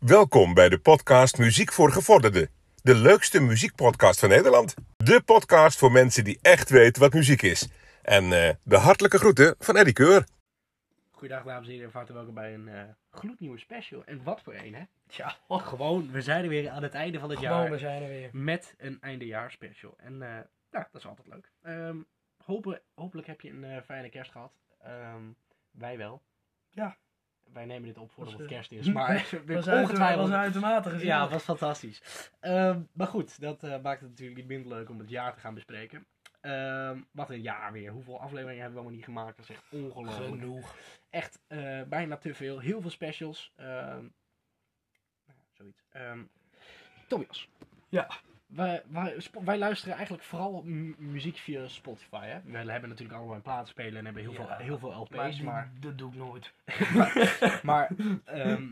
Welkom bij de podcast Muziek voor Gevorderden. De leukste muziekpodcast van Nederland. De podcast voor mensen die echt weten wat muziek is. En eh, de hartelijke groeten van Eddie Keur. Goedendag dames en heren, van harte welkom bij een eh, gloednieuwe special. En wat voor een hè? Ja, gewoon, we zijn er weer aan het einde van het Gewoon, we jaar zijn er weer. met een eindejaarspecial. En eh, nou, dat is altijd leuk. Ehm, hopen, hopelijk heb je een eh, fijne kerst gehad. Ehm, wij wel. Ja. Wij nemen dit op voordat Was, het eh, kerst is, maar Dat was, uit, was ongetwijfeld... uitermate gezien. Ja, was fantastisch. Ehm, maar goed, dat eh, maakt het natuurlijk niet minder leuk om het jaar te gaan bespreken. Ehm, wat een jaar weer. Hoeveel afleveringen hebben we allemaal niet gemaakt? Dat is echt ongelooflijk. genoeg. echt eh, bijna te veel. Heel veel specials. ehm, nou ja, zoiets. Ehm, Tobias. Ja. Wij, wij, spo- wij luisteren eigenlijk vooral mu- muziek via Spotify. Hè? We hebben natuurlijk allemaal een plaatspelen en hebben heel, Ja, veel, heel veel Maar, LP's. die- Maar, dat doe ik nooit. maar ehm,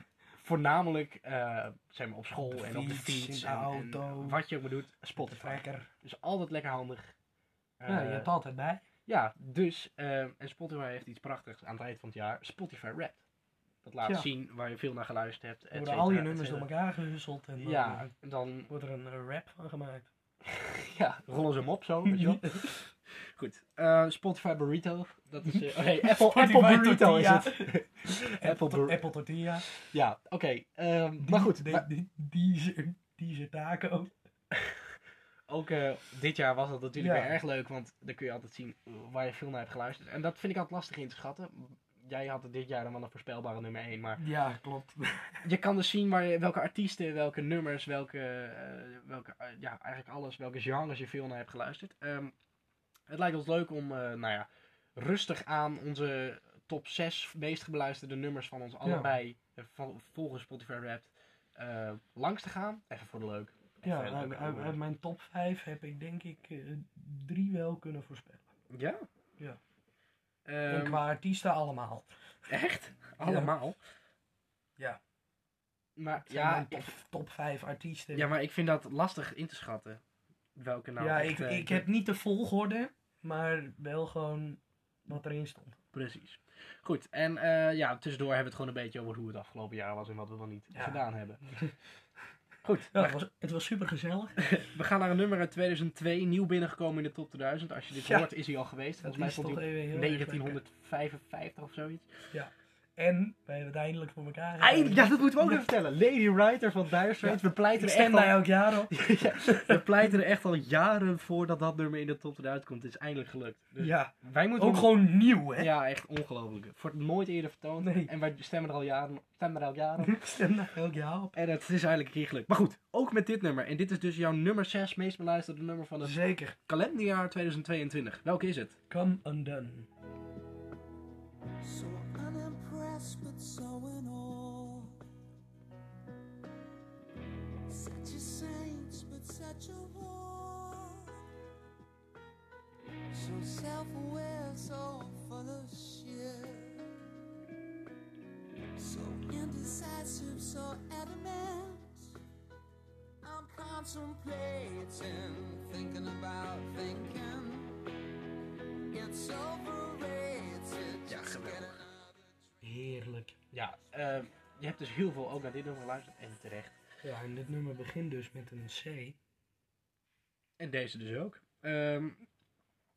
voornamelijk eh, zijn we op school Op de en op de fiets, fiets. in de en- en auto. wat je ook maar doet, Spotify. Trekker. Dus altijd lekker handig. ja, je Eh, hebt altijd bij. ja, dus, eh, en Spotify heeft iets prachtigs aan het eind van het jaar. Spotify Wrapped. Dat laat Ja. zien waar je veel naar geluisterd hebt. et Worden cetera, al je et nummers door cetera. elkaar gehusseld en dan eh, Ja, dan wordt er een eh, rap van gemaakt. ja, rollen ze hem op zo, weet je wel. Goed, eh, Spotify Burrito. Dat is, eh, oh nee, Apple, Apple Spotify Burrito is tortilla. het. Apple Apple, Bur- Apple tortilla. ja, oké. ehm, Die- maar goed, die- maar die- Die ze- die ze taco. ook eh, dit jaar was dat natuurlijk Ja. weer erg leuk, want dan kun je altijd zien waar je veel naar hebt geluisterd. En dat vind ik altijd lastig in te schatten. Jij had het dit jaar dan wel een voorspelbare nummer 1, maar Ja, klopt. je kan dus zien waar je, welke artiesten, welke nummers, welke, eh, welke eh, ja, eigenlijk alles, welke genres je veel naar hebt geluisterd. Ehm, het lijkt ons leuk om, eh, nou ja, rustig aan onze top 6 meest gebeluisterde nummers van ons allebei, eh, van, volgens Spotify Wrapped, eh, langs te gaan. Even voor de leuk. Even Ja, leuk uit, om, uit- eh, uit mijn top 5 heb ik denk ik eh, drie wel kunnen voorspellen. Ja? Ja. Ehm, en qua artiesten allemaal. Echt? Allemaal? Ja. Maar, Het zijn ja, mijn top, top 5 artiesten. ja, maar ik vind dat lastig in te schatten. Welke nou ja, echt, ik, eh, ik de- heb niet de volgorde, maar wel gewoon wat erin stond. Precies. Goed, en eh, ja, tussendoor hebben we het gewoon een beetje over hoe het afgelopen jaar was en wat we wel niet Ja. gedaan hebben. Goed, Ja, het, was, het was super gezellig. we gaan naar een nummer uit 2002, nieuw binnengekomen in de top 2000. Als je dit Ja. hoort, is hij al geweest. Dat Volgens mij is stond toch hij op even heel erg 1955 of zoiets. lekker. En we hebben het eindelijk voor elkaar. gekregen. Eindelijk, ja, dat moeten we ook even vertellen. Lady Writer van Dire Straits, we pleiten Ik er stem echt al... daar elk jaar op. Ja, we pleiten er echt al jaren voor dat dat nummer in de top 2000 komt. Het is eindelijk gelukt. Dus Ja, wij moeten ook ons- gewoon nieuw, hè? Ja, echt ongelooflijk. Het Wordt nooit eerder vertoond. Nee. En wij stemmen er al jaren, stemmen er al jaren op. Ik stem daar elk jaar op. En het is eigenlijk een keer gelukt. Maar goed, ook met dit nummer. En dit is dus jouw nummer 6 meest beluisterde nummer van het Zeker. kalenderjaar 2022. Welke is het? Come undone. So unimpressed, but so in awe. Such a saint, but such a whore. So self aware, so full of shit. So indecisive, so adamant. I'm contemplating, thinking about thinking. It's overrated. Just get another. Heerlijk. Ja, eh, je hebt dus heel veel ook naar dit nummer geluisterd. En terecht. Ja, en dit nummer begint dus met een C. En deze dus ook. Ehm,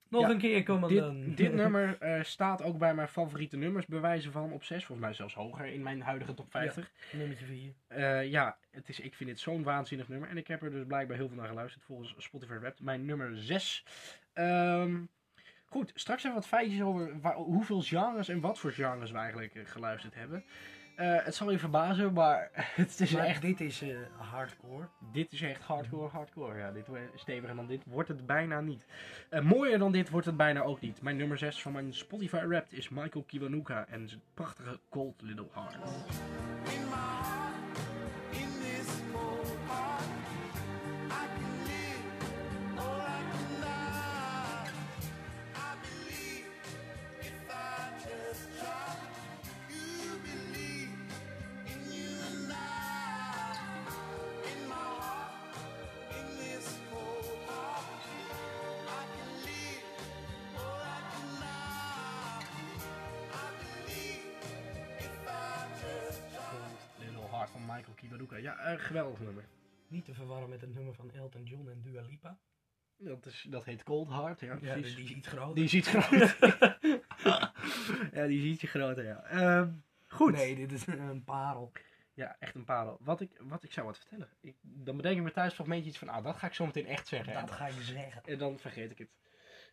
Nog Ja, een keer, come undone. dit, dit nummer eh, staat ook bij mijn favoriete nummers, bewijzen van op 6. Volgens mij zelfs hoger in mijn huidige top 50. Nummertje 4. Eh, ja, het is, ik vind dit zo'n waanzinnig nummer. En ik heb er dus blijkbaar heel veel naar geluisterd volgens Spotify Wrapped. Mijn nummer 6. Ehm, goed, straks even wat feitjes over waar- hoeveel genres en wat voor genres we eigenlijk eh, geluisterd hebben. Eh, het zal je verbazen, maar het is Maar echt, dit is eh, hardcore. dit is echt hardcore, hardcore. Ja, dit, wordt- steviger dan dit wordt het bijna niet. Eh, mooier dan dit wordt het bijna ook niet. Mijn nummer 6 van mijn Spotify Wrapped is Michael Kiwanuka en zijn prachtige Cold Little Heart. In my heart, in this whole heart, I can live or I can die. I believe if I just try, you believe in you and I. In my heart, in this whole heart, I can live or I can die. I believe if I just try. Cold Little Heart. Baruka. Ja, eh, geweldig nummer. Niet te verwarren met het nummer van Elton John en Dua Lipa. Dat, is, dat heet Cold Heart, ja, Ja, precies. die is iets groter. Die is iets groter. ja, die is ietsje groter, ja. Ehm, goed. Nee, dit is een parel. Ja, echt een parel. Wat ik, wat ik zou wat vertellen. Ik, dan bedenk ik me thuis een beetje iets van, ah, dat ga ik zo meteen echt zeggen. Dat En- ga ik zeggen. En dan vergeet ik het.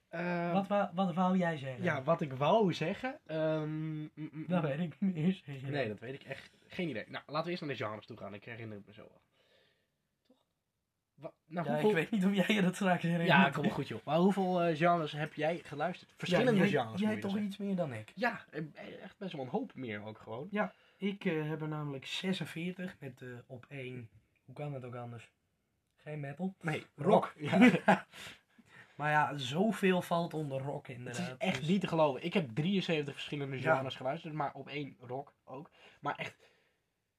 Ehm, Wat, wou- wat wou jij zeggen? ja, wat ik wou zeggen. ehm, mm, mm, mm. Dat weet ik niet eens. Zeg je Nee, dat weet ik echt. Geen idee. Nou, laten we eerst naar de genres toe gaan. Ik herinner het me zo wel. Toch? Wa- nou, Ja, hoeveel... ik weet niet of jij je dat straks herinnert. ja, kom maar goed joh. Maar hoeveel eh, genres heb jij geluisterd? Verschillende Ja, jij- genres. moet Jij je toch zeggen. iets meer dan ik. Ja, eh, echt best wel een hoop meer ook gewoon. Ik eh, heb er namelijk 46 met eh, op één. Hoe kan dat ook anders? Geen metal. Nee, Rock. Ja. Maar ja, zoveel valt onder rock Het inderdaad. is echt Dus- niet te geloven. Ik heb 73 verschillende Ja. genres geluisterd, maar op één rock ook. Maar echt,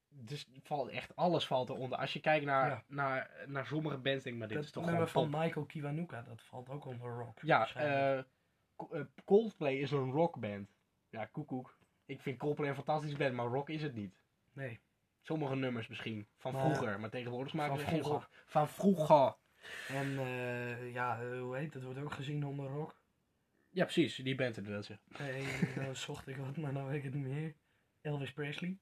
dus valt echt alles valt eronder. Als je kijkt naar, Ja. naar, naar sommige bands, denk ik, maar dit Dat is toch nummer gewoon van pop. Michael Kiwanuka, dat valt ook onder rock. Ja, waarschijnlijk. eh, Co- eh, Coldplay is een rockband. Ja, koekoek. Ik vind Coldplay een fantastische band, maar rock is het niet. nee. Sommige nummers misschien, van Maar- vroeger, maar tegenwoordig maken Van ze geen vroeger. rock. Van vroeger. En eh, ja, eh, hoe heet dat? Wordt ook gezien onder rock. Ja, precies, die band inderdaad. zeg. Nee, nou zocht ik wat, maar nou weet ik het niet meer. Elvis Presley.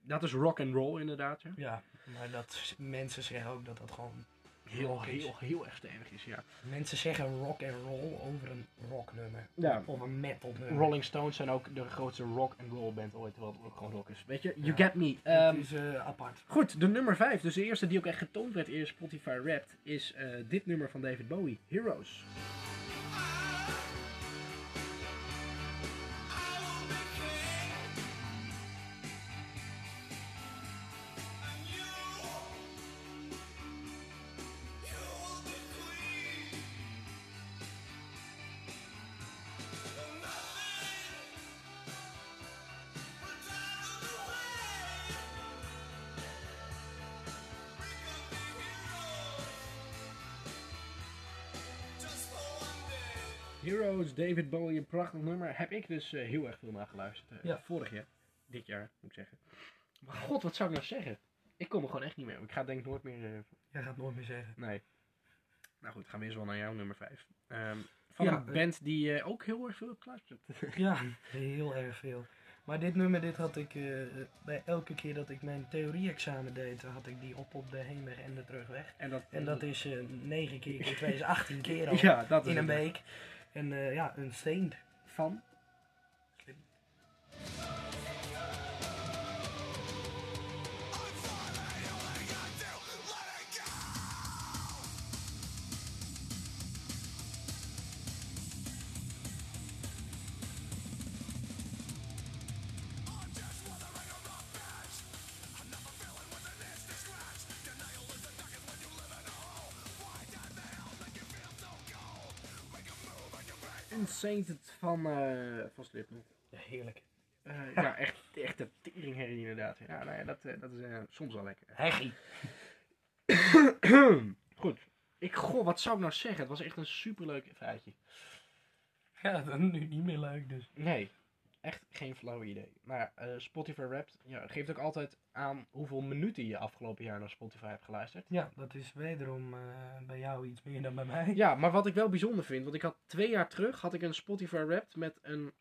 Dat is rock and roll inderdaad. Ja. Ja, maar dat s- mensen zeggen ook dat dat gewoon... Heel, Rock is. heel, heel erg stevig is, ja. Mensen zeggen rock en roll over een rocknummer. Ja. Of een metal nummer. Eh, Rolling Stones zijn ook de grootste rock and roll band ooit, terwijl het ook gewoon rock is. Weet je, you Ja. get me. Dat Ehm, is eh, apart. goed, de nummer 5, dus de eerste die ook echt getoond werd in Spotify Wrapped, is eh, dit nummer van David Bowie, Heroes. Just for one day. Heroes, David Bowie, een prachtig nummer. Heb ik dus eh, heel erg veel naar geluisterd. eh, Ja. Vorig jaar, dit jaar moet ik zeggen. Maar god, wat zou ik nou zeggen? Ik kom er gewoon echt niet meer op. Ik ga het denk ik nooit meer... eh, Jij gaat het nooit meer zeggen. nee. Nou goed, gaan we eens wel naar jouw nummer 5. van Ja, een eh, band die eh, ook heel erg veel heb geluisterd. Ja, heel erg veel. Maar dit nummer, dit had ik eh, bij elke keer dat ik mijn theorie-examen deed, had ik die op op de heenweg en de terugweg. en dat, En dat is eh 9 keer keer 2 is 18 keer al Ja, dat is in een het. week. En eh, ja, een steen. Van? Unsainted van, eh van Slipknot. Ja, heerlijk. Eh, ja, echt, echt een teringherrie inderdaad. Ja, nou ja, dat, eh, dat is eh, soms wel lekker. Heggie. Goed. Ik, goh, wat zou ik nou zeggen? Het was echt een superleuk feitje. Ja, dat is nu niet meer leuk dus. Nee, echt geen flauw idee. Maar ja, eh, Spotify Wrapped ja, geeft ook altijd aan hoeveel minuten je afgelopen jaar naar Spotify hebt geluisterd. Ja, dat is wederom eh, bij jou iets meer dan bij mij. Ja, maar wat ik wel bijzonder vind, want ik had twee jaar terug had ik een Spotify Wrapped met een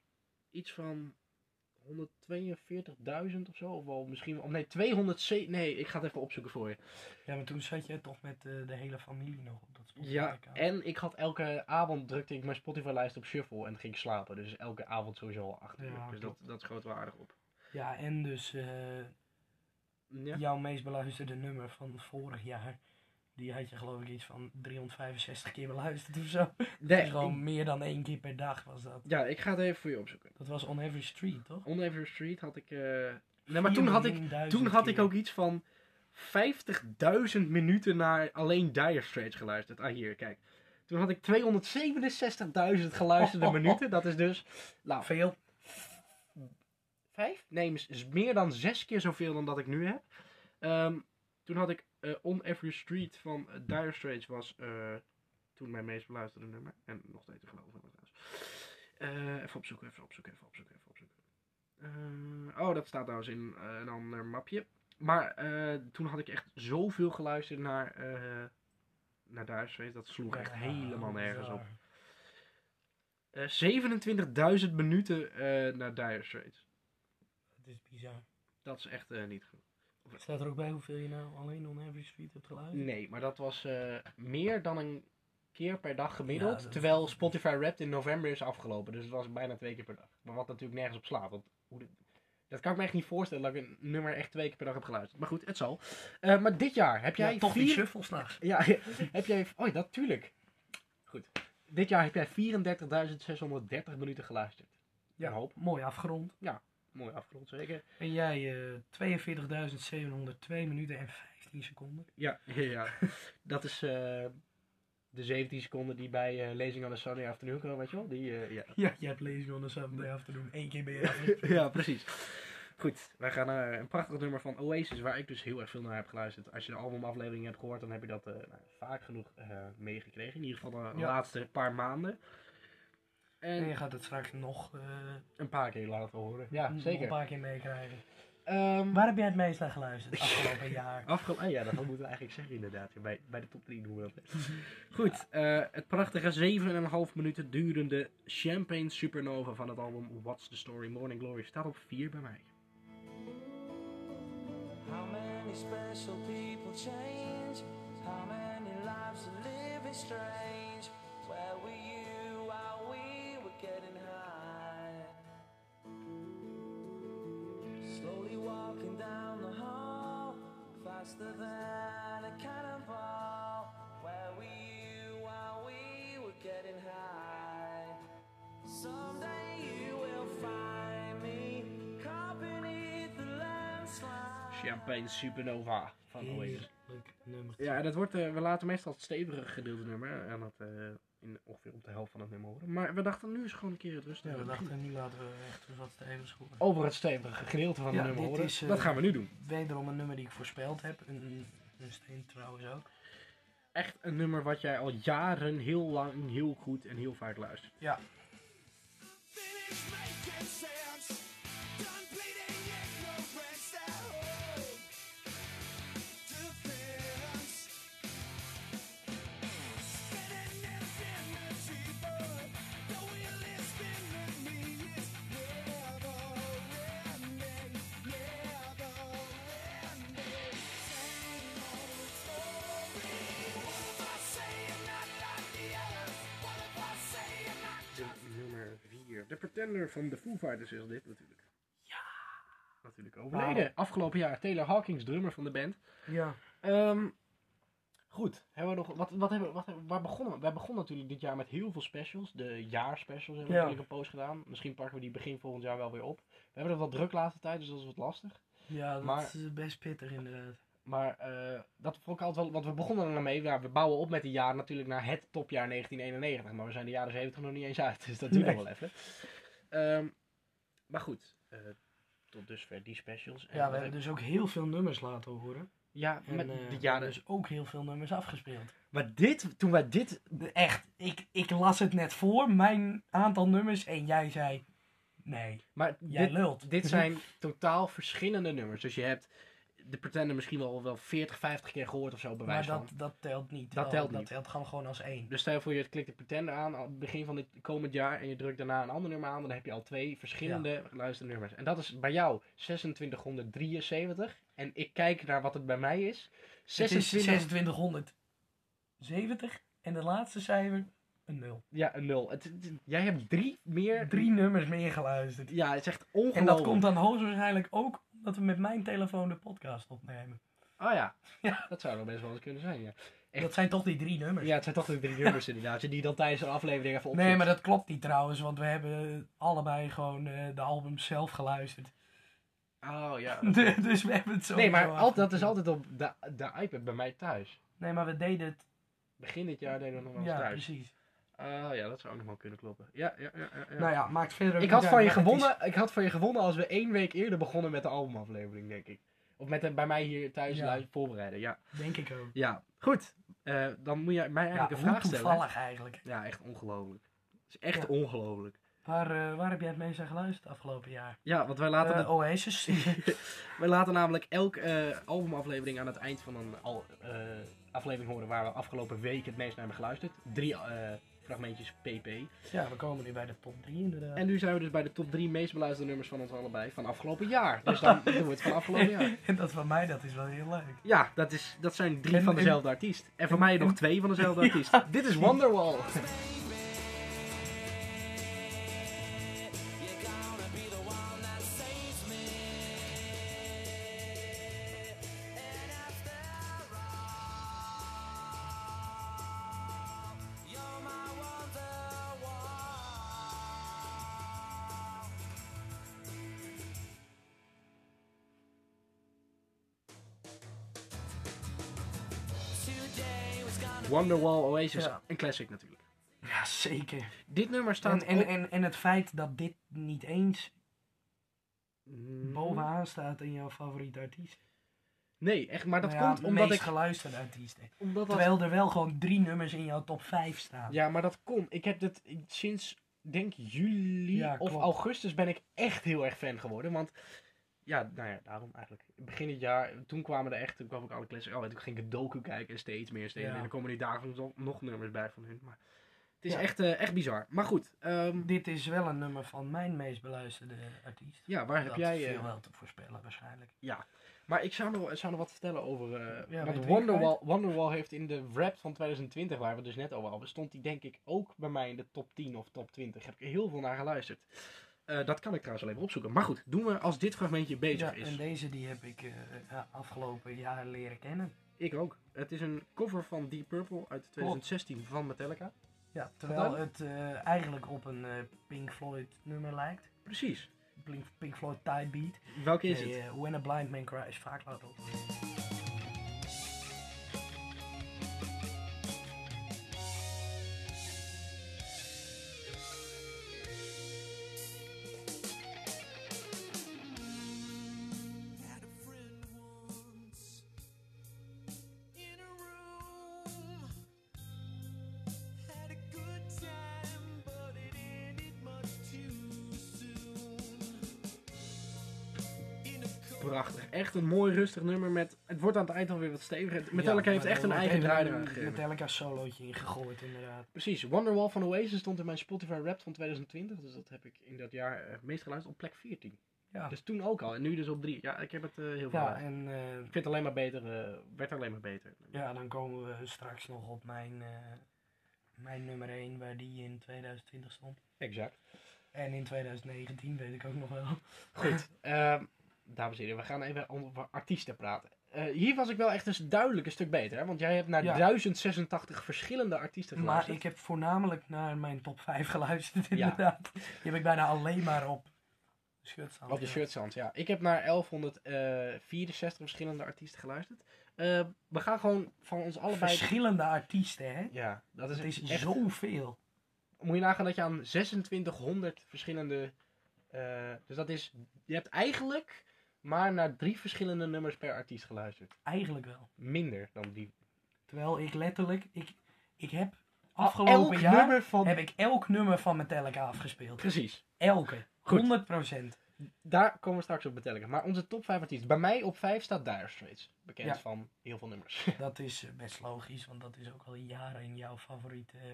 iets van 142.000 of zo, of wel misschien wel, nee 200 nee, ik ga het even opzoeken voor je. Ja, maar toen zat jij toch met eh, de hele familie nog op dat spoor. Ja, en ik had elke avond drukte ik mijn Spotify-lijst op shuffle en ging ik slapen. Dus elke avond sowieso al acht Ja, uur. Dus dat, klopt. dat schoot wel aardig op. Ja, en dus eh, Ja. jouw meest beluisterde nummer van vorig jaar. Die had je geloof ik iets van 365 keer beluisterd of zo. Nee, Dus gewoon ik, meer dan één keer per dag was dat. ja, ik ga het even voor je opzoeken. Dat was On Every Street, toch? On Every Street had ik... eh, Nee, maar toen had ik, toen had ik ook iets van 50.000 minuten naar alleen Dire Straits geluisterd. Ah, hier, kijk. Toen had ik 267.000 geluisterde minuten. Dat is dus... Nou, Veel. vijf? Nee, mis- is meer dan zes keer zoveel dan dat ik nu heb. Ehm, toen had ik eh, On Every Street van eh, Dire Straits was eh, toen mijn meest beluisterde nummer. En nog steeds te geloven trouwens. Eh, even opzoeken, even opzoeken, even opzoeken, even opzoeken. Eh, oh, dat staat trouwens in eh, een ander mapje. Maar eh, toen had ik echt zoveel geluisterd naar, eh naar Duitsers. Dat sloeg echt helemaal nergens op. Eh, 27.000 minuten eh, naar Dire Straits. Het is bizar. Dat is echt eh, niet genoeg. Staat er ook bij hoeveel je nou alleen on average street hebt geluisterd? Nee, maar dat was eh, meer dan een keer per dag gemiddeld. Ja, dat- terwijl Spotify Wrapped in november is afgelopen. Dus het was bijna twee keer per dag. Maar wat natuurlijk nergens op slaat. Want hoe dit- dat kan ik me echt niet voorstellen dat ik een nummer echt twee keer per dag heb geluisterd. Maar goed, het zal. Eh, maar dit jaar heb jij ja, toch die vier... shuffle s'nachts. Ja, heb jij... Oh, dat tuurlijk. Goed. Dit jaar heb jij 34.630 minuten geluisterd. Ja. Een hoop. Mooi afgerond. Mooi afgerond, zeker. En jij eh 42.702 minuten en 15 seconden. Ja, ja, ja. dat is eh, de 17 seconden die bij eh, Lezing on a Sunday Afternoon komen, weet je wel? Die, eh, ja. Ja, jij hebt lezen on the Sunday afternoon. Eén keer ben je af. ja, precies. Goed, wij gaan naar een prachtig nummer van Oasis, waar ik dus heel erg veel naar heb geluisterd. Als je de albumaflevering hebt gehoord, dan heb je dat eh, nou, vaak genoeg eh, meegekregen. In ieder geval de Ja. laatste paar maanden. En En je gaat het straks nog eh, een paar keer laten horen. Ja, nog een zeker. paar keer meekrijgen. Ehm, Waar heb jij het meest naar geluisterd afgelopen jaar? Afge ah ja, dat moeten we eigenlijk zeggen inderdaad. Ja, Bij, bij de top 3 doen we dat. Goed, eh, het prachtige 7,5 minuten durende Champagne Supernova van het album What's the Story Morning Glory staat op 4 bij mij. How many special people change? How many lives are living strange? Where were you while we were getting high? Slowly walking down the hall, faster than a cannonball. Where were you while we were getting high? Someday you will find me caught beneath the landslide. Champagne Supernova van Oasis. Heerlijk nummer. Ja, en dat wordt, eh, we laten meestal het stevige gedeelte nummer. En dat eh, in ongeveer op de helft van het nummer horen. Maar we dachten nu is gewoon een keer het rustige. Ja, we dachten nu laten we echt eens wat stevig schoenen. Over het stevige gedeelte van Ja, het nummer dit horen. is, eh, dat gaan we nu doen. Wederom een nummer die ik voorspeld heb. Een, een, een steen trouwens ook. Echt een nummer wat jij al jaren heel lang, heel goed en heel vaak luistert. Ja. Finish making sense. Done bleeding ignorance at home. Defense. Spinning this energy ball. The wheel is spinning me. It's never ending. Never ending. Same old story. What if I say you're not like the others? What if I say you're not nummer 4. De Pretender van de Foo Fighters is dit natuurlijk. Ja! Natuurlijk overleden. Afgelopen jaar Taylor Hawkins, drummer van de band. Ja. Ehm, goed, hebben we nog, wat, wat hebben, we- wat, hebben we- waar begonnen we? Wij begonnen natuurlijk dit jaar met heel veel specials. De jaarspecials hebben we Ja. natuurlijk een post gedaan. Misschien pakken we die begin volgend jaar wel weer op. We hebben het wat druk de laatste tijd, dus dat is wat lastig. Ja, dat Maar- is best pittig inderdaad. Maar eh, dat vond ik altijd wel, want we begonnen er nou mee. Ja, we bouwen op met die jaar natuurlijk naar het topjaar 1991. Maar we zijn de jaren 70 nog niet eens uit, dus dat duurt Nee. nog wel even. Ehm, maar goed, eh, tot dusver die specials. En Ja, wat we hebben heb- dus ook heel veel nummers laten horen. ja En met eh, we de hebben jaren. dus ook heel veel nummers afgespeeld. Maar dit, toen wij dit Echt, ik, ik las het net voor, mijn aantal nummers, en jij zei, nee, Maar jij dit, lult. dit zijn totaal verschillende nummers. Dus je hebt de Pretender misschien wel, wel 40, 50 keer gehoord of zo, bij Maar wijze dat, van. dat telt niet. Dat Oh, telt Dat niet. telt gewoon, gewoon als één. Dus stel je voor je klikt de Pretender aan aan het begin van dit komend jaar en je drukt daarna een ander nummer aan, dan heb je al twee verschillende luisternummers. En dat is bij jou 2673. En ik kijk naar wat het bij mij is. Het is 26, 2670 en de laatste cijfer, een nul. ja, een nul. Het, het- jij hebt drie meer. Drie nummers meer geluisterd. Ja, het is echt En ongelooflijk. dat komt dan hoogstwaarschijnlijk ook omdat we met mijn telefoon de podcast opnemen. Oh ja. Ja. dat zou wel best wel eens kunnen zijn, ja. Echt? Dat zijn toch die drie nummers. Ja, het zijn toch de drie nummers inderdaad, die je dan tijdens een aflevering even opzoekt. Nee, maar dat klopt niet trouwens, want we hebben allebei gewoon eh, de albums zelf geluisterd. Ah, Oh ja. dus we hebben het zo. Nee, maar al, dat is altijd op de, de iPad bij mij thuis. Nee, maar we deden het. Begin dit jaar deden we nog wel eens Ja, thuis. precies. Ah ja, dat zou ook nog wel kunnen kloppen. Ja, ja, ja. ja, ja. Nou ja, maakt verder. ook ik, niet had uit, van je maar het gewonnen, ik had van je gewonnen als we één week eerder begonnen met de albumaflevering, denk ik. Of met de, bij mij hier thuis Ja. lui- voorbereiden, ja. is- Denk ik ook. Ja, goed. Eh, dan moet jij mij Ja, eigenlijk een hoe vraag stellen. toevallig eigenlijk. Ja, echt ongelooflijk. Het is echt Ja. ongelooflijk. Waar, eh, waar heb jij het meest aan geluisterd afgelopen jaar? Ja, want wij laten, Eh, het- Oasis. wij laten namelijk elke eh, albumaflevering aan het eind van een al, eh, aflevering horen waar we afgelopen week het meest naar hebben geluisterd. Drie eh, fragmentjes pp. ja, we komen nu bij de top 3 inderdaad. En nu zijn we dus bij de top drie meest beluisterde nummers van ons allebei van afgelopen jaar. Dus dan doen we het van afgelopen jaar. En dat van mij, dat is wel heel leuk. Ja, dat, is, dat zijn drie En- van en- dezelfde artiest. En voor mij nog twee van dezelfde artiest. Dit is Wonderwall. Wonderwall, Oasis, Ja. een classic natuurlijk. Ja, zeker. Dit nummer staat En, en, op- en, en het feit dat dit niet eens Mm. bovenaan staat in jouw favoriete artiest. Nee, echt, maar dat Nou ja, komt omdat meest ik... geluisterde artiest. Omdat dat- Terwijl er wel gewoon drie nummers in jouw top 5 staan. Ja, maar dat komt. Ik heb dit ik- sinds, denk juli Ja, of klopt. augustus ben ik echt heel erg fan geworden. Want, ja, nou ja, daarom eigenlijk. Begin het jaar, toen kwamen er echt, toen kwam ik alle classics. Oh, en toen ging ik het docu kijken en steeds meer, steeds Ja. meer. En dan komen die dagelijks nog, nog nummers bij van hun. Maar het is Ja. echt, eh, echt bizar. Maar goed, ehm, Dit is wel een nummer van mijn meest beluisterde artiest. ja, waar heb dat jij... is eh, veel wel te voorspellen waarschijnlijk. Maar ik zou nog, zou nog wat vertellen over. eh, Ja, weet want wie Wonderwall, Wonderwall heeft in de rap van 2020, waar we dus net over hadden, stond die denk ik ook bij mij in de top 10 of top 20. Heb ik heel veel naar geluisterd. Eh, dat kan ik trouwens wel even opzoeken. Maar goed, doen we als dit fragmentje bezig Ja, is. en deze die heb ik eh, ja, afgelopen jaar leren kennen. Ik ook. Het is een cover van Deep Purple uit 2016 van Metallica. Ja, terwijl dan? het eh, eigenlijk op een eh, Pink Floyd nummer lijkt. Precies. Pink, Pink Floyd Tie Beat. Welke is Nee, het? eh, When a Blind Man Cries, vaak laat op. Had a friend once in a room. Had a good time, but it ended much too soon. In a cold Prachtig. Echt een mooi rustig nummer met. Het wordt aan het eind alweer wat steviger. Metallica Ja, heeft maar echt er een wordt eigen even draai een eraan gegeven. Metallica solootje ingegooid inderdaad. Precies, Wonderwall van Oasis stond in mijn Spotify Wrapped van 2020. Dus dat heb ik in dat jaar eh, het meest geluisterd op plek 14. Ja, Dus toen ook al. En nu dus op 3. Ja, ik heb het eh, heel veel. Oh. ja geluisterd. en eh, Ik vind het alleen maar beter. eh, werd alleen maar beter. ja, dan komen we straks nog op mijn, eh, mijn nummer 1 waar die in 2020 stond. Exact. En in 2019 weet ik ook nog wel. Goed. ehm, dames en heren, we gaan even over artiesten praten. Eh, hier was ik wel echt een duidelijk een stuk beter. Hè? Want jij hebt naar Ja. 1086 verschillende artiesten Maar geluisterd. ik heb voornamelijk naar mijn top 5 geluisterd Ja. inderdaad. Die heb ik bijna alleen maar op de shirt staan. Op de Ja. shirtstand, ja. Ik heb naar 1164 verschillende artiesten geluisterd. Eh, we gaan gewoon van ons allebei... Verschillende artiesten hè. ja, dat is, Het is echt zoveel. moet je nagaan dat je aan 2600 verschillende. eh, dus dat is. Je hebt eigenlijk maar naar drie verschillende nummers per artiest geluisterd. Eigenlijk wel. Minder dan die. Terwijl ik letterlijk, ik, ik heb afgelopen Ah, Elk jaar nummer van. heb ik elk nummer van Metallica afgespeeld. Precies. Elke. Goed. 100 procent. Daar komen we straks op Metallica. Maar onze top 5 artiesten. Bij mij op 5 staat Dire Straits. Bekend Ja. van heel veel nummers. Dat is eh, best logisch, want dat is ook al jaren jouw favoriete. eh,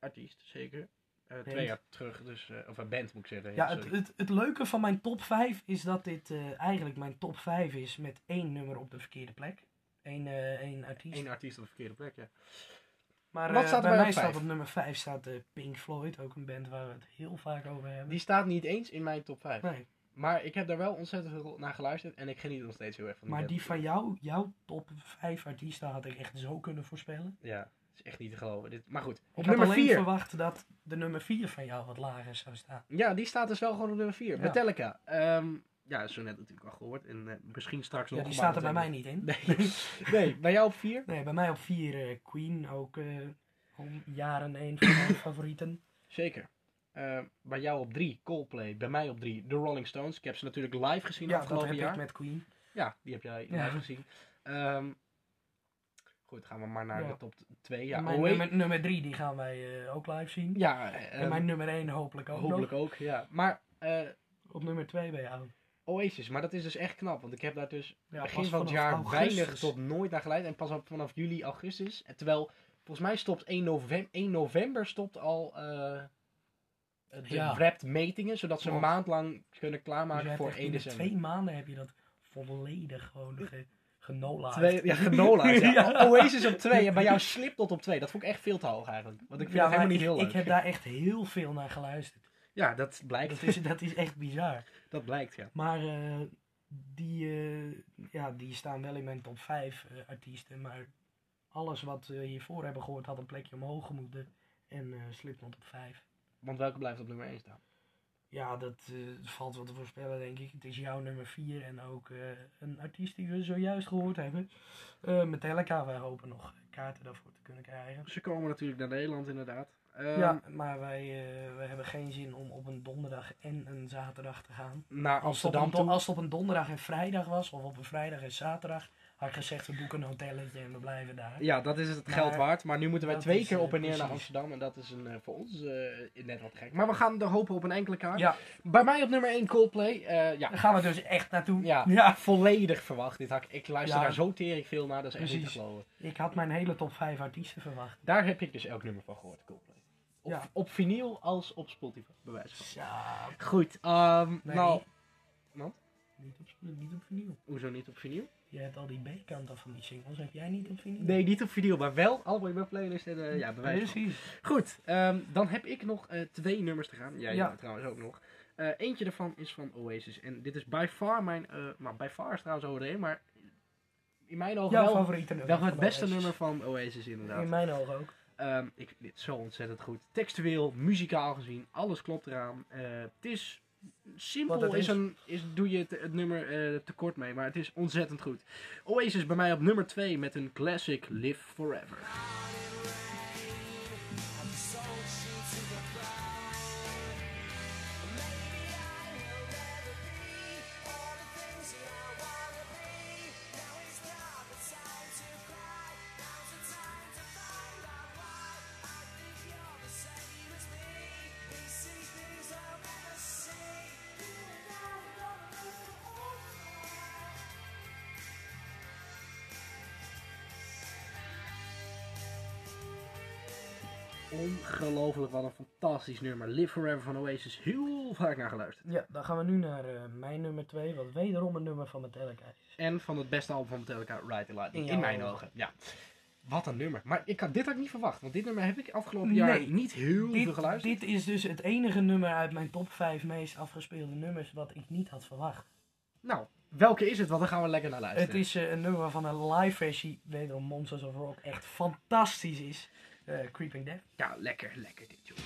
Artiest, zeker. Eh, Band. twee jaar terug, dus, eh, of een band moet ik zeggen. Ja, sorry. het, het, het leuke van mijn top 5 is dat dit eh, eigenlijk mijn top 5 is met één nummer op de verkeerde plek. Eén, eh, één artiest. Eén artiest op de verkeerde plek, ja. Maar Wat eh, staat er bij bij mij op staat vijf? op nummer 5 staat eh, Pink Floyd, ook een band waar we het heel vaak over hebben. Die staat niet eens in mijn top 5. Nee, Maar ik heb daar wel ontzettend veel naar geluisterd. En ik geniet nog steeds heel erg van die maar band. die van jou, jouw top 5 artiesten had ik echt zo kunnen voorspellen. Ja, het is echt niet te geloven. Dit, maar goed, Ik op had nummer alleen 4. verwacht dat de nummer 4 van jou wat lager zou staan. Ja, die staat dus wel gewoon op nummer 4. Ja. Metallica. Ehm, ja, zo net natuurlijk al gehoord. En eh, misschien straks nog. ja, die maar staat er bij mij dat- niet in. Nee. nee, bij jou op 4. Nee, bij mij op 4 Queen, ook eh, al jaren een van mijn favorieten. Zeker. Ehm, bij jou op 3 Coldplay. Bij mij op 3 The Rolling Stones. Ik heb ze natuurlijk live gezien Ja, dat afgelopen heb jaar. ik met Queen. Ja, die heb jij Ja. live gezien. Ehm, Goed, gaan we maar naar Ja. de top 2. En Ja, mijn Away. nummer, nummer drie die gaan wij eh, ook live zien. Ja, en ehm, mijn nummer één hopelijk ook hopelijk ook, ja. Maar eh, nog. Op nummer twee bij jou. Oasis, maar dat is dus echt knap, want ik heb daar dus Ja, begin pas van het vanaf jaar augustus. weinig tot nooit naar geleid. En pas op vanaf juli, augustus. En terwijl, volgens mij stopt 1 november, 1 november stopt al eh, de Ja. wrapped metingen. Zodat ze een Klopt. maand lang kunnen Dus je klaarmaken hebt voor echt 1 in de december. twee maanden heb je dat volledig gewoon ge, genola. Twee, ja, Genola. Ja. Oh, Ja. Oasis op 2 en bij jou Slipknot op 2. Dat vond ik echt veel te hoog eigenlijk. Want ik vind Ja, dat maar helemaal niet heel ik, leuk. ik heb daar echt heel veel naar geluisterd. Ja, dat blijkt. Dat is, dat is echt bizar. Dat blijkt, ja. Maar eh, die, eh, ja, die staan wel in mijn top 5 eh, artiesten. Maar alles wat we hiervoor hebben gehoord had een plekje omhoog gemoeten. En eh Slipknot op 5. Want welke blijft op nummer 1 staan? Ja, dat eh, valt wel te voorspellen, denk ik. Het is jouw nummer 4 en ook eh, een artiest die we zojuist gehoord hebben. Eh Metallica, wij hopen nog kaarten daarvoor te kunnen krijgen. Ze komen natuurlijk naar Nederland inderdaad. Ehm, ja, maar wij, eh, wij hebben geen zin om op een donderdag en een zaterdag te gaan. Naar Als het, op Amsterdam een, don- toe. als het op een donderdag en vrijdag was, of op een vrijdag en zaterdag, had ik gezegd we boeken een hotelletje en we blijven daar. Ja, dat is het Maar geld waard. Maar nu moeten wij dat twee is, keer eh, op en neer naar precies. Amsterdam. En dat is een, eh, voor ons eh, net wat gek. Maar we gaan er hopen op een enkele kaart. Ja, Bij mij op nummer 1 Coldplay. Eh, ja, daar gaan we dus echt naartoe. Ja. ja. volledig verwacht. Dit hak. Ik luister Ja. daar zo tering veel naar. Dat is echt niet te Precies. geloven. Ik had mijn hele top 5 artiesten verwacht. Daar heb ik dus elk nummer van gehoord, Coldplay. Op, Ja. op vinyl als op Spotify, bij wijze van. Ja, Goed, ehm, Nee. nou... niet op, niet op vinyl. Hoezo niet op vinyl? Je hebt al die B-kanten van die singles, heb jij niet op vinyl? Nee, niet op vinyl, maar wel allemaal in mijn playlist en eh, ja, bij wijze van. Precies. Goed, ehm, dan heb ik nog eh, twee nummers te gaan. Jij Ja. nou, trouwens ook nog. Eh, eentje daarvan is van Oasis. En dit is by far mijn... eh maar by far is trouwens overdreven, maar... In mijn ogen Jouw wel, favoriete nummer. wel van het beste Oasis. nummer van Oasis inderdaad. In mijn ogen ook. Ehm, ik vind dit zo ontzettend goed. Textueel, muzikaal gezien, alles klopt eraan. Eh, het is Wat simpel, het is is. een, is, doe je het, het nummer eh, tekort mee, maar het is ontzettend goed. Oasis bij mij op nummer 2 met een classic Live Forever. Ongelooflijk, wat een fantastisch nummer. Live Forever van Oasis, heel vaak naar geluisterd. Ja, dan gaan we nu naar eh, mijn nummer 2, wat wederom een nummer van Metallica is. En van het beste album van Metallica, Ride the Lightning. In In jouw mijn ogen. ogen, ja. Wat een nummer. Maar ik had, dit had ik niet verwacht, want dit nummer heb ik afgelopen jaar Nee. niet heel veel Dit, geluisterd. dit is dus het enige nummer uit mijn top 5 meest afgespeelde nummers wat ik niet had verwacht. Nou, welke is het? Want daar gaan we lekker naar luisteren. Het is eh, een nummer van een live versie, wederom Monsters of Rock, echt fantastisch is. Eh, Creeping Death. Ja, lekker, lekker dit, joh.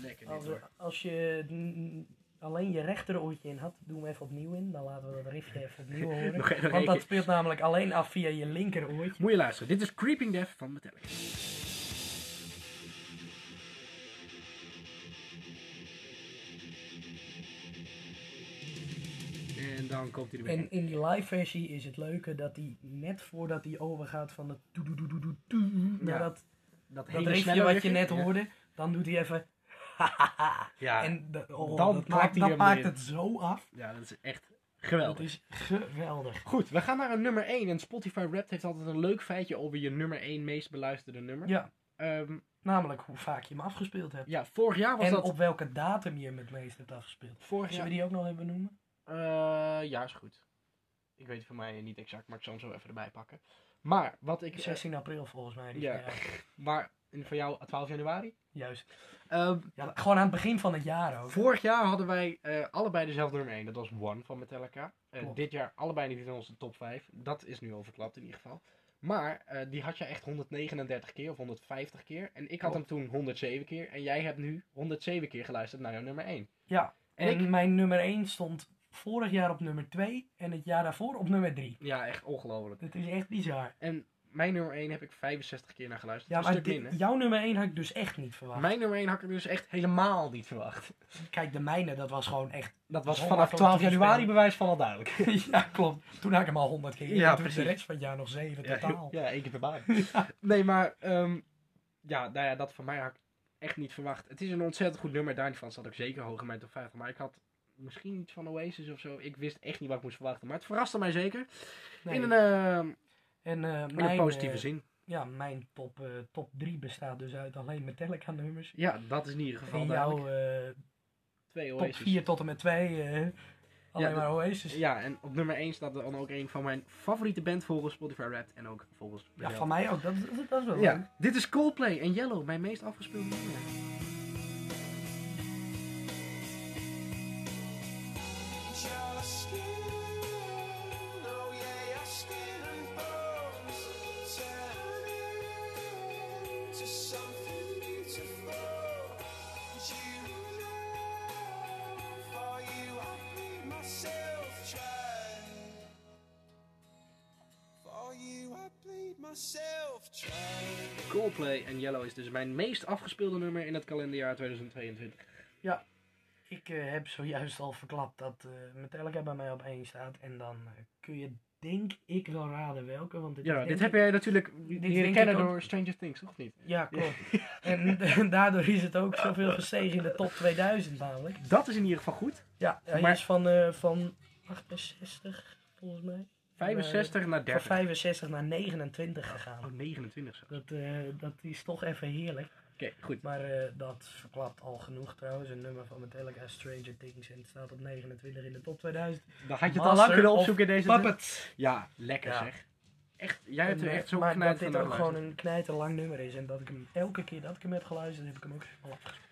Lekker dit, Als, hoor. als je mm, alleen je rechteroortje in had, doe hem even opnieuw in. Dan laten we dat riffje even opnieuw horen. Nog één- nog één Want dat keer. speelt namelijk alleen af via je linkeroortje. Moet je luisteren, dit is Creeping Death van Metallica. En dan komt hij er weer En in. in die live versie is het leuke dat hij net voordat hij overgaat van het toe-doe-doe-doe-doe-toe naar Ja. dat, Dat dat hele riffje snelle wat je riffje. net Ja. hoorde, dan doet hij even Ja. en de- oh, Dan dat klapt maakt, hij dat hem maakt erin. het zo af. ja, dat is echt Het geweldig. is geweldig. Goed, we gaan naar een nummer 1. En Spotify Wrapped heeft altijd een leuk feitje over je nummer 1 meest beluisterde nummer. Ja, Ehm, namelijk hoe vaak je hem afgespeeld hebt. ja vorig jaar was en dat... op welke datum je hem het meest hebt afgespeeld. Vorig jaar... Zullen we die ook nog even noemen? Eh, ja, is goed. Ik weet het van mij niet exact, maar ik zal hem zo even erbij pakken. Maar wat ik... eh, 16 april volgens mij. Die Ja. ja. Maar in- van jou 12 januari. Juist. Ehm, Ja, gewoon aan het begin van het jaar ook. vorig jaar hadden wij eh, allebei dezelfde nummer 1. Dat was One van Metallica. Eh, Klopt. dit jaar allebei niet in onze top 5. Dat is nu overklapt in ieder geval. Maar eh, die had jij echt 139 keer of 150 keer. En ik had hem toen 107 keer. En jij hebt nu 107 keer geluisterd naar jouw nummer 1. Ja, En Ik- mijn nummer 1 stond vorig jaar op nummer 2 en het jaar daarvoor op nummer 3. Ja, echt ongelooflijk. Dat is echt bizar. En mijn nummer 1 heb ik 65 keer naar geluisterd. Ja, een maar stuk dit- minder. jouw nummer 1 had ik dus echt niet verwacht. Mijn nummer 1 had ik dus echt helemaal niet verwacht. Kijk, de mijne, dat was gewoon echt... Dat was Zo vanaf makkelijk 12 te voorspellen. januari bewijs van al duidelijk. ja, klopt. Toen had ik hem al 100 keer. Ja, toen de precies. rest van het jaar nog 7 Ja, totaal. Ja, één keer per baan. Nee, maar ehm, ja, nou ja, dat van mij had ik echt niet verwacht. Het is een ontzettend goed nummer. Daar van zat ook zeker hoog in mijn top 50. Maar ik had misschien iets van Oasis of zo. Ik wist echt niet wat ik moest verwachten. Maar het verraste mij zeker. Nee. In, een, eh, in en eh, mijn, een positieve eh, zin. Ja, mijn top, eh, top 3 bestaat dus uit alleen Metallica nummers. Ja, dat is in ieder geval En duidelijk. jouw eh, Twee top Oasis. 4 tot en met 2 alleen Ja, maar Oasis. Ja, Ja, en op nummer 1 staat er dan ook een van mijn favoriete band volgens Spotify Wrapped. En ook volgens mezelf. van mij ook. Dat, dat, dat is wel leuk. Ja, dit is Coldplay en Yellow, mijn meest afgespeelde nummer. Your skin, oh yeah, your skin and bones turn into something beautiful. You know, for you I made myself try. For you I bleed myself try. Coldplay en Yellow is dus mijn meest afgespeelde nummer in het kalenderjaar 2022. Ja, ik eh, heb zojuist al verklapt dat eh Metallica bij mij op één staat. En dan eh, kun je denk ik wel raden welke. Want dit Ja, is denk dit ik- heb jij natuurlijk leren denk kennen ik ook. door Stranger Things, toch niet? Ja, klopt. en, en daardoor is het ook zoveel gestegen in de top 2000 namelijk. Dat is in ieder geval goed. Ja, hij Maar- is van, eh, van 68 volgens mij. Eh, 65 naar Van 30. 65 naar 29 Oh, gegaan. 29 zo. Oké, Dat, eh, dat is toch even heerlijk. goed. Maar eh, dat verklapt al genoeg trouwens. Een nummer van Metallica, Stranger Things. En het staat op 29 in de top 2000. Dan had je het al Master lang kunnen of opzoeken in deze... Puppet. Ja, lekker Ja. zeg. Echt, jij hebt er En, eh, echt zo'n maar knijt dat van dit ook gewoon geluisterd. een knijterlang nummer is. En dat ik hem elke keer dat ik hem heb geluisterd, heb ik hem ook helemaal afgespeeld.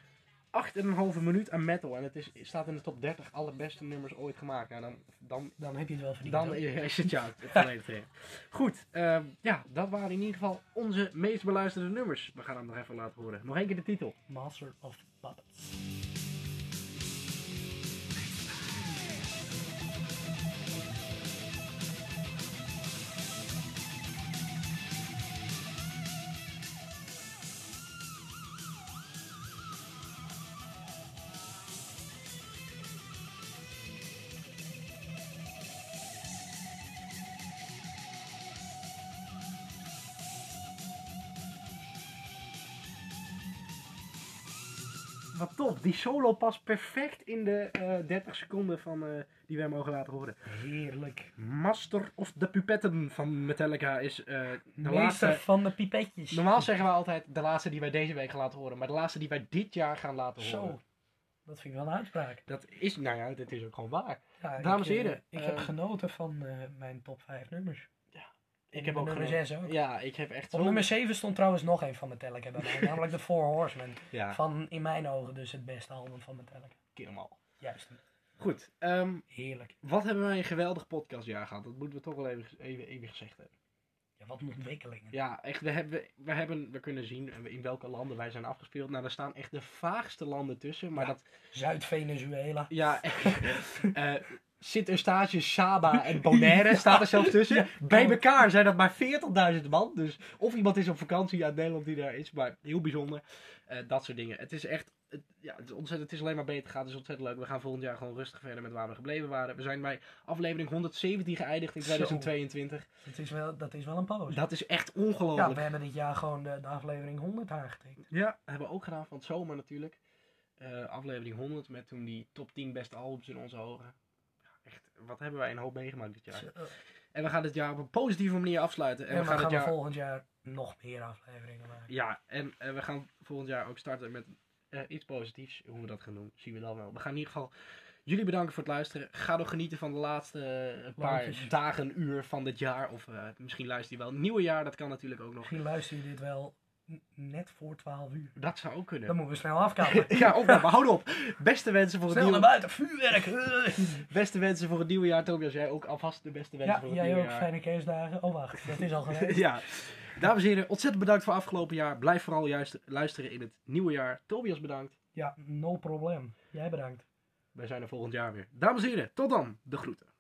Acht en een halve minuut aan metal en het is, staat in de top 30 allerbeste nummers ooit gemaakt. Nou, dan, dan Dan heb je het wel verdiend. Dan hoor. is het jou volledig terecht. Goed, ehm, ja, dat waren in ieder geval onze meest beluisterde nummers. We gaan hem nog even laten horen. Nog één keer de titel. Master of Puppets. Wat top, die solo past perfect in de eh, 30 seconden van, eh, die wij mogen laten horen. Heerlijk. Master of the Pupetten van Metallica is eh, de Meester laatste. van de pipetjes. Normaal zeggen we altijd de laatste die wij deze week gaan laten horen. Maar de laatste die wij dit jaar gaan laten horen. Zo. Dat vind ik wel een uitspraak. Dat is, nou ja, dat is ook gewoon waar. Ja, Dames en ik, eh, heren, Ik eh, heb genoten van eh, mijn top 5 nummers. Ik En nummer genoten. 6 ook. Ja, ik heb echt Op zo... nummer 7 stond trouwens nog een van Metallica bij mij, namelijk de Four Horsemen. Ja, Van in mijn ogen dus het beste album van Metallica. kill 'em all. Juist, Goed, ehm, heerlijk. Wat hebben wij een geweldig podcastjaar gehad? Dat moeten we toch wel even, even, even gezegd hebben. Ja, wat een ontwikkelingen. Ja, echt, we, hebben, we, hebben, we kunnen zien in welke landen wij zijn afgespeeld. Nou, daar staan echt de vaagste landen tussen. Maar Ja. dat, Zuid-Venezuela. ja, eh Sint-Eustatius, Saba en Bonaire staat er zelfs tussen. Bij elkaar zijn dat maar 40.000 man. Dus of iemand is op vakantie uit Nederland die daar is. Maar heel bijzonder. Eh, dat soort dingen. Het is echt, het, ja, het, is ontzettend, het is alleen maar beter gaat. Het is ontzettend leuk. We gaan volgend jaar gewoon rustig verder met waar we gebleven waren. We zijn bij aflevering 117 geëindigd in Zo. 2022. Dat is wel, dat is wel een poos. Dat is echt ja, ongelooflijk. we hebben dit jaar gewoon de, de aflevering 100 aangetikt. Ja, hebben we ook gedaan van het zomer natuurlijk. Eh, aflevering 100 met toen die top 10 beste albums in onze ogen. Ja, echt, wat hebben wij een hoop meegemaakt dit jaar. Zo. En we gaan dit jaar op een positieve manier afsluiten. En En dan we gaan eh, gaan dit we jaar... volgend jaar nog meer afleveringen maken. Ja, en eh, we gaan volgend jaar ook starten met eh, iets positiefs. Hoe we dat gaan doen, zien we dan wel. We gaan in ieder geval jullie bedanken voor het luisteren. Ga nog genieten van de laatste eh, paar Landjes. dagen, uur van dit jaar. Of eh, misschien luister je wel het nieuwe jaar, dat kan natuurlijk ook nog. Misschien luister je dit wel n- net voor 12 uur. Dat zou ook kunnen. Dan moeten we snel afkappen. Ja, ook maar houd op. Beste wensen voor het Snel naar nieuwe, buiten, vuurwerk! beste wensen voor het nieuwe jaar, Tobias. Jij ook alvast de beste wensen Ja, voor het jij nieuwe ook. jaar. Fijne kerstdagen. Oh, wacht. Dat is al geweest. ja. Dames en heren, ontzettend bedankt voor afgelopen jaar. Blijf vooral juist luisteren in het nieuwe jaar. Tobias bedankt. Ja, no probleem. Jij bedankt. Wij zijn er volgend jaar weer. Dames en heren, tot dan. De groeten.